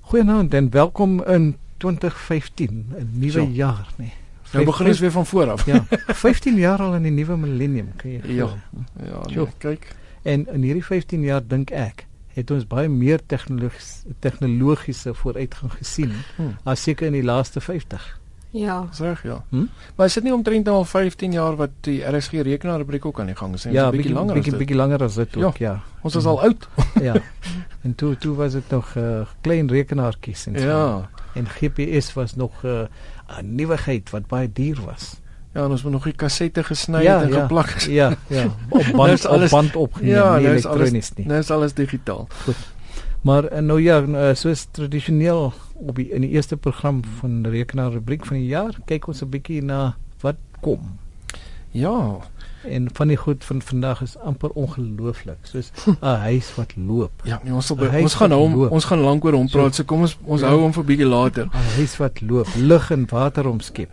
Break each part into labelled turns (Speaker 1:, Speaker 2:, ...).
Speaker 1: Goeienaand en welkom in 2015, 'n nuwe
Speaker 2: Zo.
Speaker 1: jaar, nê. Nee.
Speaker 2: Nou begin ons weer van voor af.
Speaker 1: ja, 15 jaar al in die nuwe millennium, kan jy
Speaker 2: Ja.
Speaker 1: glo.
Speaker 2: Ja,
Speaker 1: Sjoe.
Speaker 2: nee, kyk.
Speaker 1: En in hierdie 15 jaar dink ek het ons baie meer tegnologies tegnologiese vooruitgang gesien
Speaker 2: Hmm.
Speaker 1: as seker in die laaste 50.
Speaker 3: Ja,
Speaker 2: Sag ja.
Speaker 1: Hm?
Speaker 2: Maar is dit nie omtrent nou al 15 jaar wat die RSG rekenaar rubriek ook aan die gang is nie? Dit is
Speaker 1: Ja,
Speaker 2: 'n bietjie langer
Speaker 1: bietjie
Speaker 2: as dit.
Speaker 1: bietjie langer as dit ook, ja.
Speaker 2: Ons is al oud.
Speaker 1: Ja. En toe toe was dit nog 'n uh, klein rekenaartjies en so.
Speaker 2: Ja.
Speaker 1: En GPS was nog 'n uh, 'n nuwigheid wat baie duur was.
Speaker 2: Ja, en ons moet nog die kassette gesny
Speaker 1: Ja,
Speaker 2: het en
Speaker 1: ja.
Speaker 2: geplak. het.
Speaker 1: Ja, ja, op band
Speaker 2: Nou is
Speaker 1: op
Speaker 2: alles-
Speaker 1: band opgeneem,
Speaker 2: Ja,
Speaker 1: nie
Speaker 2: nou is alles-
Speaker 1: nee, elektronies nie.
Speaker 2: Nou is alles digitaal.
Speaker 1: Maar eh, nou ja, n- eh, soos tradisioneel op die in die eerste program van die rekenaar rubriek van die jaar, kyk ons 'n bietjie na wat kom.
Speaker 2: Ja.
Speaker 1: En van die goed van vandag is amper ongelooflik, soos 'n huis wat loop.
Speaker 2: Ja, nee, ons sal
Speaker 1: Hy
Speaker 2: by, ons
Speaker 1: het
Speaker 2: gaan nou hom
Speaker 1: geloop.
Speaker 2: ons gaan lank oor hom
Speaker 1: So.
Speaker 2: praat. So kom ons ons
Speaker 1: Ja.
Speaker 2: hou hom vir bietjie later.
Speaker 1: 'n Huis wat loop, lig en water omskep.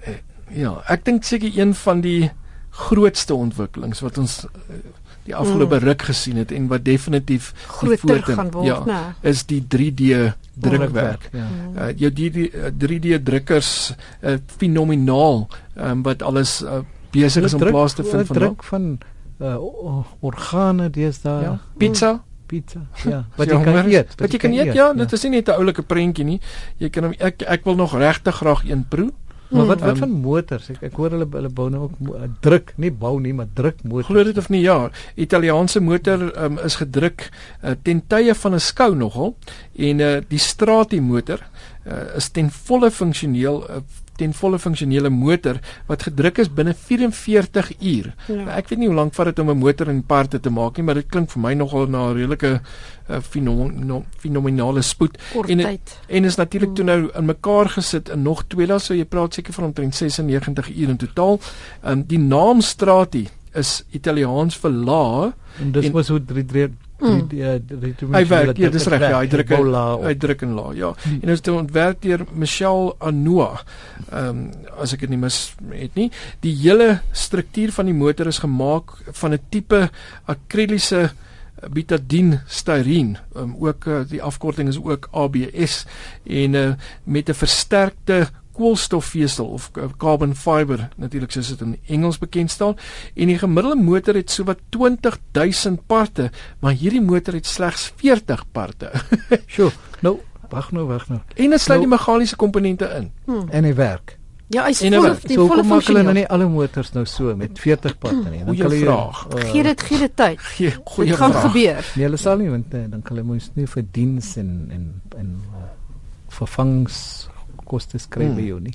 Speaker 2: Ja, ek dink seker een van die grootste ontwikkelings wat ons eh, die afgelope
Speaker 1: Mm.
Speaker 2: ruk gesien het en wat definitief
Speaker 3: groter
Speaker 2: voortdink,
Speaker 3: gaan word,
Speaker 2: ja.
Speaker 3: ja. né?
Speaker 2: is die 3D drukwerk.
Speaker 1: ja.
Speaker 2: Uh, jou 3D uh, 3D drukkers uh, fenomenaal um, wat alles uh, besig is om
Speaker 1: Druk- eh,
Speaker 2: plaas te vind
Speaker 1: druk
Speaker 2: van
Speaker 1: van uh, o- o- organe deesdae,
Speaker 2: ja,
Speaker 1: ja.
Speaker 2: pizza
Speaker 1: pizza, ja,
Speaker 2: as
Speaker 1: wat jy kan
Speaker 2: honger is.
Speaker 1: eet.
Speaker 2: Wat jy kan eet, ja, dit is nie net 'n oulike prentjie nie. Jy kan hom ek ek wil nog regtig graag een proe.
Speaker 1: Maar wat wat
Speaker 2: Ehm,
Speaker 1: van motors? Ek, ek hoor hulle hulle bou nou ook mo- eh, druk, nie bou nie, maar druk motors.
Speaker 2: Glo dit of nie, ja, Italiaanse motor um, is gedruk uh, ten tye van 'n skou nogal en uh, die Strati motor uh, is ten volle funksioneel uh, ten volle funksionele motor wat gedruk is binne 44 uur. Nou,
Speaker 3: Ja.
Speaker 2: Ek weet nie hoe lank vat dit om 'n motor in parte te maak nie, maar dit klink vir my nogal na 'n redelike uh, fenomen, fenominale spoed
Speaker 3: Kort
Speaker 2: en-
Speaker 3: tyd.
Speaker 2: en is natuurlik toe nou in mekaar gesit in nog twee dae, so jy praat seker van omtrent 96 uur in totaal. Um, die naam Strati is Italiaans vir la,
Speaker 1: en dis
Speaker 2: en- Hmm.
Speaker 1: mos hoe 3 3
Speaker 3: Mm.
Speaker 1: eh,
Speaker 2: Hy werk, ja, dis reg, ja, hy druk-
Speaker 1: uit.
Speaker 2: uitdruk in la, ja.
Speaker 1: Hmm.
Speaker 2: En dit is toe ontwerp deur Michel Anoa. Ehm um, as ek dit nie mis het nie, die hele struktuur van die motor is gemaak van 'n tipe akriliese butadien styrien, um, ook uh, die afkorting is ook ABS en uh, met 'n versterkte koolstofvesel of k- carbon fiber natuurlik soos dit in Engels bekend staan en die gemiddelde motor het sowat 20000 parte maar hierdie motor het slegs 40 parte
Speaker 1: Sjoe. Nou, wag nou, wag nou.
Speaker 2: en dit sluit
Speaker 1: Nou-
Speaker 2: die meganiese komponente in
Speaker 3: Hm.
Speaker 1: En hy werk.
Speaker 3: Ja, hy's
Speaker 2: en-
Speaker 3: vol die
Speaker 1: So
Speaker 3: volle
Speaker 1: kom maak hulle nou
Speaker 3: funksie.
Speaker 1: nie alle motors nou so met 40 pad nie.
Speaker 2: Goeie
Speaker 1: kan hulle-
Speaker 2: vraag.
Speaker 1: eh,
Speaker 3: Gee dit gee dit tyd.
Speaker 2: Gee
Speaker 3: Dit
Speaker 2: goeie
Speaker 3: gaan
Speaker 2: vraag.
Speaker 3: gebeur.
Speaker 1: Nee, hulle sal nie want eh, dan kan hulle mos nie vir diens en en en eh, vervangingskoste skry
Speaker 2: Hmm.
Speaker 1: by jou nie.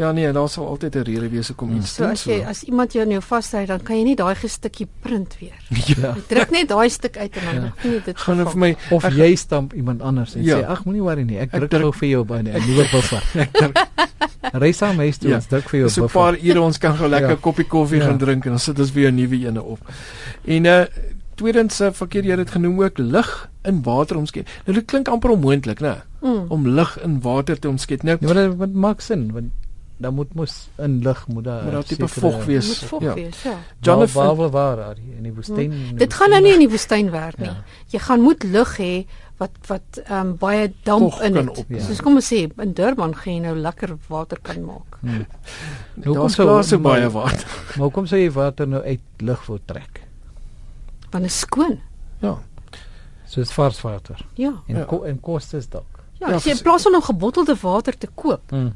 Speaker 2: Ja nee, daar sal altyd 'n rede wees hoekom iets
Speaker 3: Ja. So
Speaker 2: doen,
Speaker 3: as jy as iemand jou nou vashou, dan kan jy nie daai gestukkie print weer.
Speaker 1: Ja.
Speaker 3: Jy druk net daai stuk uit en dan
Speaker 1: Ja.
Speaker 3: ja. nie dit
Speaker 2: gaan nou vir
Speaker 3: vervang.
Speaker 2: my
Speaker 1: Of
Speaker 2: Ek-
Speaker 1: jy stamp iemand anders en
Speaker 2: Ja.
Speaker 1: sê ag moenie worry nie, ek
Speaker 2: Ek
Speaker 1: druk
Speaker 2: druk-
Speaker 1: gou vir jou by 'n nuwe buffer. Ry saam huis toe,
Speaker 2: Ja.
Speaker 1: ons druk vir jou 'n
Speaker 2: so 'n
Speaker 1: buffer.
Speaker 2: paar ure ons kan gou lekker
Speaker 1: Ja.
Speaker 2: 'n koppie koffie
Speaker 1: Ja.
Speaker 2: gaan drink en dan sit ons weer 'n nuwe ene op. En uh tweedens uh, verkeer jy dit genoem ook lig in water omskep. Nou dit klink amper onmoontlik, né?
Speaker 3: Mm.
Speaker 2: Om lig in water te omskep. Nou
Speaker 1: Nee, maar dit wat maak sin want dan moet mos in lig moet daar
Speaker 2: moet daar tipe
Speaker 1: sekere-
Speaker 2: vog
Speaker 3: Dit moet
Speaker 2: wees.
Speaker 3: volg
Speaker 2: Ja.
Speaker 3: wees, ja.
Speaker 2: Jonathan-
Speaker 1: Waar
Speaker 2: Hmm.
Speaker 1: waar waar daar hier in die woestyn. Nee, in die
Speaker 3: Dit gaan nou
Speaker 1: woestyn.
Speaker 3: nie in die woestyn werk nie.
Speaker 1: Ja.
Speaker 3: Jy gaan moet lig hê wat wat ehm um, baie damp
Speaker 2: Vocht
Speaker 3: in
Speaker 2: kan
Speaker 3: het.
Speaker 2: op-
Speaker 1: Ja.
Speaker 3: Soos kom ons sê, in Durban gaan jy nou lekker water kan maak.
Speaker 1: Hmm. Hoekom
Speaker 2: Daar's
Speaker 1: sou-
Speaker 2: klaar so
Speaker 1: maar-
Speaker 2: baie water.
Speaker 1: Maar hoekom sou jy water nou uit lig wil trek?
Speaker 3: Want dit is skoon.
Speaker 2: Ja.
Speaker 1: Soos vars water.
Speaker 3: Ja.
Speaker 1: En
Speaker 2: Ja.
Speaker 1: ja. ko en kostes dalk.
Speaker 3: Ja,
Speaker 2: Ja,
Speaker 3: as jy
Speaker 2: vers-
Speaker 3: in plaas van om gebottelde water te koop,
Speaker 1: Hmm.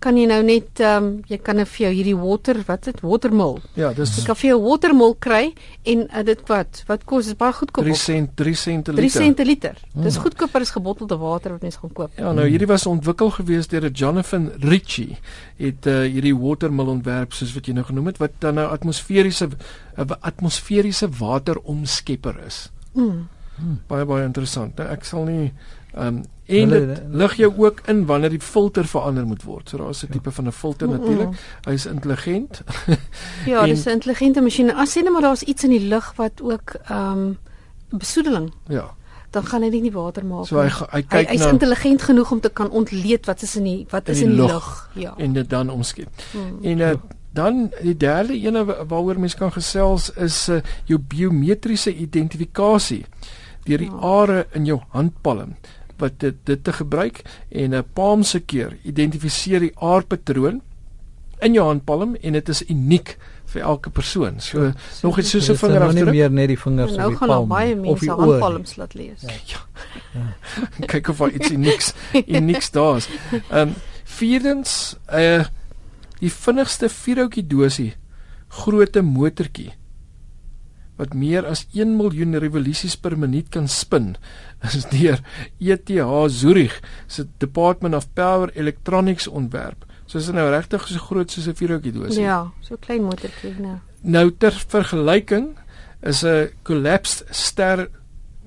Speaker 3: kan jy nou net ehm um, jy kan nou vir jou hierdie water, wat is dit? Watermil.
Speaker 2: Ja,
Speaker 3: Jy
Speaker 2: dis
Speaker 3: kan vir jou watermil kry en uh, dit wat? Wat kos? Dit is baie goedkoop.
Speaker 2: 3
Speaker 3: op-
Speaker 2: sent 3 sent 'n
Speaker 3: Drie
Speaker 2: liter. Mm.
Speaker 3: sente liter. Dis goedkoper as gebottelde water wat mens gaan koop.
Speaker 2: Ja, nou hierdie was ontwikkel gewees deur 'n Jonathan Ritchie. Het uh, hierdie watermil ontwerp soos wat jy nou genoem het wat dan nou atmosferiese 'n atmosferiese wateromskepper is.
Speaker 3: Mm.
Speaker 2: Baie baie interessant. Nou ek sal nie ehm um, en
Speaker 1: Hulle-
Speaker 2: dit lig jou ook in wanneer die filter verander moet word. So daar is 'n tipe van 'n filter natuurlik. Hy's intelligent.
Speaker 3: Ja,
Speaker 2: En-
Speaker 3: dis 'n intelligente masjien. As sê net maar daar's iets in die lug wat ook ehm besoedeling,
Speaker 2: Ja.
Speaker 3: dan gaan hy net nie water maak
Speaker 2: So hy
Speaker 3: nie.
Speaker 2: ge- hy
Speaker 3: hy
Speaker 2: kyk nou
Speaker 3: hy's
Speaker 2: na
Speaker 3: intelligent genoeg om te kan ontleed wat is in die wat
Speaker 2: In
Speaker 3: is
Speaker 2: die
Speaker 3: in die
Speaker 2: lug.
Speaker 3: lug. Ja.
Speaker 2: en dit dan omskep.
Speaker 3: Mm.
Speaker 2: En uh, dan die derde ene wa- waaroor mens kan gesels is uh, jou biometriese identifikasie deur die
Speaker 3: Ja.
Speaker 2: are in jou handpalm. wat dit dit te gebruik en 'n uh, palm se keer identifiseer die aardpatroon in jou handpalm en dit is uniek vir elke persoon. So ja, nog iets soos 'n
Speaker 1: nou nie
Speaker 2: vingerafdruk.
Speaker 1: meer net die
Speaker 2: Ja,
Speaker 1: vingers
Speaker 3: nou
Speaker 1: op die
Speaker 3: gaan al
Speaker 1: palm
Speaker 3: baie
Speaker 1: nie, of
Speaker 3: mense
Speaker 1: die oor.
Speaker 3: handpalms laat lees.
Speaker 2: Kyk of daar iets unieks unieks daar is. Ehm um, vierdens uh die vinnigste vierhoutjie dosie grootte motortjie wat meer as 1 miljoen revolusies per minuut kan spin is deur ETH Zurich se Department of Power Electronics ontwerp. So is dit nou regtig so groot soos 'n vierhoutjie dosie.
Speaker 3: Ja, so klein motortjie nou.
Speaker 2: Nou ter vergelyking is 'n collapsed ster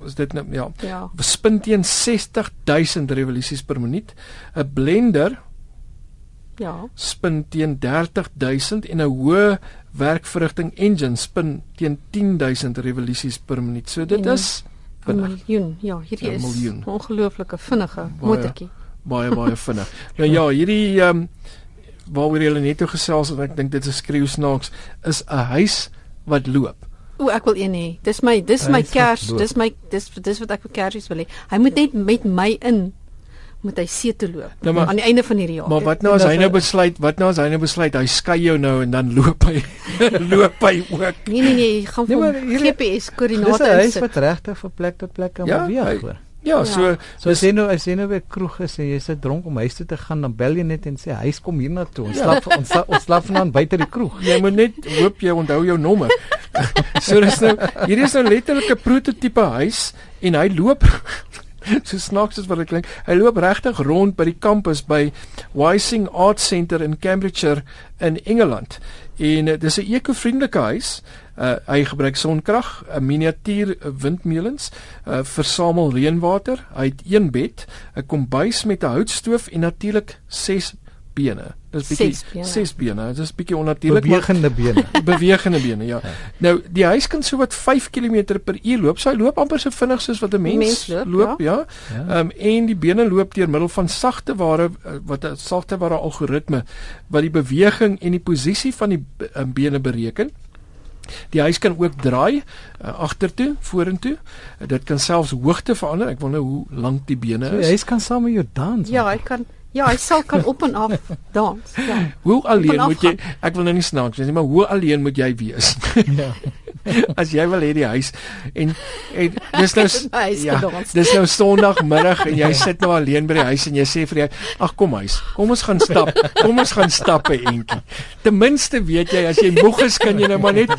Speaker 2: is dit nou ja,
Speaker 3: Ja.
Speaker 2: spin teen 60000 revolusies per minuut. 'n Blender
Speaker 3: Ja.
Speaker 2: spin teen 30000 en 'n hoë werkverrigting engine spin teen 10000 revolusies per minuut. So dit
Speaker 3: En-
Speaker 2: is
Speaker 3: 'n
Speaker 2: vinnig,
Speaker 3: miljoen. Ja, hierdie
Speaker 2: Ja,
Speaker 3: is 'n
Speaker 2: miljoen.
Speaker 3: ongelooflike vinnige motortjie.
Speaker 2: baie baie vinnig. Nou ja, hierdie ehm um, waaroor jy net toe gesels het, ek dink dit is skreeu snaaks, is 'n huis wat loop.
Speaker 3: O, ek wil een hê. Dis my dis my
Speaker 1: Hy is
Speaker 3: kers,
Speaker 1: wat loop.
Speaker 3: dis my dis dis wat ek vir kersies wil hê. Hy moet net met my in moet hy see toe loop
Speaker 1: Ja,
Speaker 2: Nou, maar-
Speaker 3: aan die einde van hierdie jaar.
Speaker 2: Maar wat nou as
Speaker 1: dat
Speaker 2: hy nou
Speaker 1: hy-
Speaker 2: besluit, wat nou as hy nou besluit hy skei jou nou en dan loop hy loop hy ook.
Speaker 3: Nee nee nee, jy gaan
Speaker 1: Nee,
Speaker 3: vir
Speaker 1: maar
Speaker 3: hom
Speaker 1: hierdie-
Speaker 3: GPS
Speaker 1: Dis 'n
Speaker 3: koördinate
Speaker 1: huis
Speaker 3: insit.
Speaker 1: wat regtig van plek tot plek kan
Speaker 2: Ja, hy-
Speaker 1: beweeg. hoor.
Speaker 2: Ja, so
Speaker 3: Ja.
Speaker 1: So as jy nou as jy nou by kroeg is en jy's te dronk om huis toe te gaan, dan bel jy net en sê huis kom hiernatoe. Ons
Speaker 2: Ja.
Speaker 1: slaap ons slaap- ons slaap vanaand buite die kroeg.
Speaker 3: Ja.
Speaker 2: Jy moet net hoop jy onthou jou nommer. so dis nou hierdie is nou letterlik 'n prototipe huis en hy loop so snaaks as wat dit klink. Hy loop regtig rond by die kampus by Wysing Art Centre in Cambridgeshire in Engeland. En uh, dis 'n ekovriendelike huis. Uh, hy gebruik sonkrag, 'n miniatuur eh, windmolens, uh, versamel reënwater. Hy het een bed, 'n kombuis met 'n houtstoof en natuurlik 6 bene. Dis
Speaker 3: Ses
Speaker 2: bietjie
Speaker 3: bene.
Speaker 2: 6 bene. Dit is bietjie onnatuurlik. maar-
Speaker 1: Bewegende bene.
Speaker 2: bewegende bene ja. Nou die huis kan so wat 5 km/h loop. So hy loop amper so vinnig soos wat 'n mens,
Speaker 3: Mens loop,
Speaker 2: ja. Ehm
Speaker 1: Ja.
Speaker 2: en die bene loop deur middel van sagte ware eh, wat 'n sagte ware algoritme wat die beweging en die posisie van die b- eh, bene bereken. Die huis kan ook draai uh, agtertoe, vorentoe. Uh, dit kan selfs hoogte verander. Ek wonder hoe lank die bene
Speaker 1: So
Speaker 2: is.
Speaker 1: die huis kan saam met jou dans.
Speaker 3: Ja, hy kan ja, hy sal kan op en af dans. Ja.
Speaker 2: Hoe alleen
Speaker 3: Kan
Speaker 2: moet jy ek wil nou nie snaaks wees nie, maar hoe alleen moet jy wees?
Speaker 1: Ja.
Speaker 2: As jy wil hê die huis en en dis nou s-
Speaker 3: In my huis gedans.
Speaker 2: dis nou Sondagmiddag en
Speaker 1: Ja.
Speaker 2: jy sit nou alleen by die huis en jy sê vir jou, "Ag kom huis, kom ons gaan stap. Kom ons gaan stap 'n entjie." Ten minste weet jy as jy moeg is, kan jy nou maar net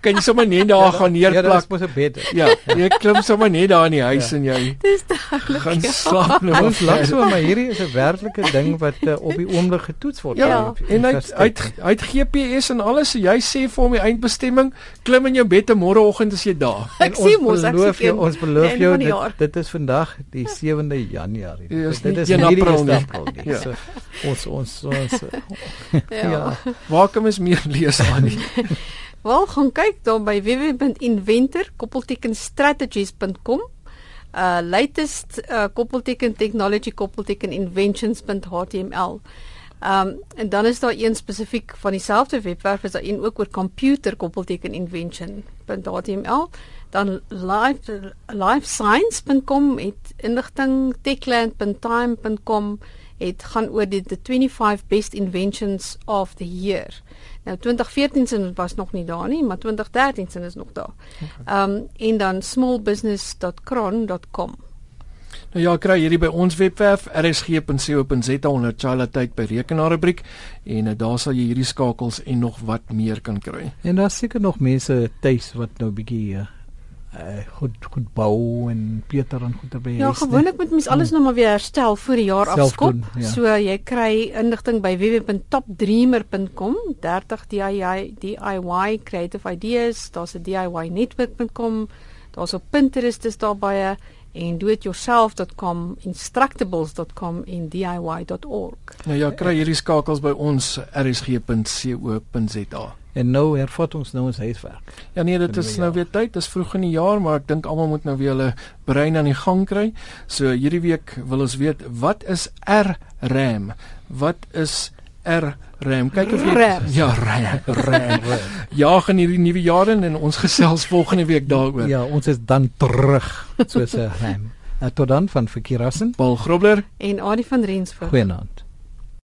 Speaker 2: kan jy sommer net daar gaan
Speaker 1: Ja, dit
Speaker 2: neerplak.
Speaker 1: is mos 'n bed.
Speaker 2: Ja, jy klim sommer net daar in die huis
Speaker 1: Ja.
Speaker 2: en jy
Speaker 3: Dis duidelik. ja.
Speaker 2: gaan slaap nou.
Speaker 1: Ons lag so, maar hierdie is 'n werklike ding wat uh, op die oomblik getoets word.
Speaker 2: Ja,
Speaker 1: hier op die
Speaker 2: en hy het- hy het- hy het GPS en alles, so jy sê vir hom die eindbestemming, klim in jou bed en môreoggend is jy daar.
Speaker 1: En
Speaker 3: Ek
Speaker 1: ons
Speaker 3: sien mos ek
Speaker 1: beloof
Speaker 3: sien
Speaker 1: jou,
Speaker 3: een-
Speaker 1: ons
Speaker 3: die
Speaker 1: beloof
Speaker 3: einde
Speaker 1: jou
Speaker 3: van die jaar.
Speaker 1: dit, dit is vandag die 7de Januarie.
Speaker 2: Ja, is
Speaker 1: dit
Speaker 2: nie
Speaker 1: is
Speaker 2: 1
Speaker 1: nie die
Speaker 2: April nie.
Speaker 1: 1 April nie.
Speaker 2: Ja.
Speaker 1: So, ons ons ons
Speaker 3: Ja. ja.
Speaker 2: Waar kan mens meer lees aan nie?
Speaker 3: Wel gaan kyk dan by www.inventor koppelteken strategies.com. Uh latest uh, koppelteken technology koppelteken inventions.html. Um en dan is daar een spesifiek van dieselfde webwerf is daar een ook oor computer koppelteken invention.html. Dan life lifescience.com het inligting techland.time.com het gaan oor die the 25 best inventions of the year. Nou 2014 se was nog nie daar nie, maar 2013 se is nog daar. Ehm um, en dan smallbusiness.cron.com.
Speaker 2: Nou ja, kry hierdie by ons webwerf rsg.co.za onder Chala tyd by rekenaar rubriek en uh, daar sal jy hierdie skakels en nog wat meer kan kry.
Speaker 1: En daar's seker nog mense tuis wat nou bietjie uh, uh, goed goed bou en Pieter en goeie by
Speaker 3: Ja,
Speaker 1: huis.
Speaker 3: gewoonlik moet mens alles nou maar weer herstel voor die jaar
Speaker 1: mm. Self
Speaker 3: afskop.
Speaker 1: doen, ja.
Speaker 3: So jy kry inligting by www.topdreamer.com, 30 DIY DIY creative ideas, daar's 'n DIY netwerk.com, daar's op Pinterest is daar baie en doityourself.com, instructables.com en diy.org.
Speaker 2: Nou ja, kry hierdie skakels by ons rsg.co.za.
Speaker 1: En nou hervat ons nou ons huiswerk.
Speaker 2: Ja nee, dit
Speaker 1: Vir die
Speaker 2: is
Speaker 1: nuwe
Speaker 2: nou
Speaker 1: jaar.
Speaker 2: weer tyd, dis vroeg in die jaar, maar ek dink almal moet nou weer hulle brein aan die gang kry. So hierdie week wil ons weet wat is RAM? Wat is RAM? Kyk of jy
Speaker 3: RAM.
Speaker 2: Ja, RAM. RAM. Jaag in hierdie nuwe jaar in en ons gesels volgende week daaroor.
Speaker 1: Ja, ons is dan terug soos 'n ham.
Speaker 3: Uh, tot dan van Verkeerassen.
Speaker 4: Paul Grobler
Speaker 1: en Adie van Rensburg.
Speaker 3: Ja. Goeienaand.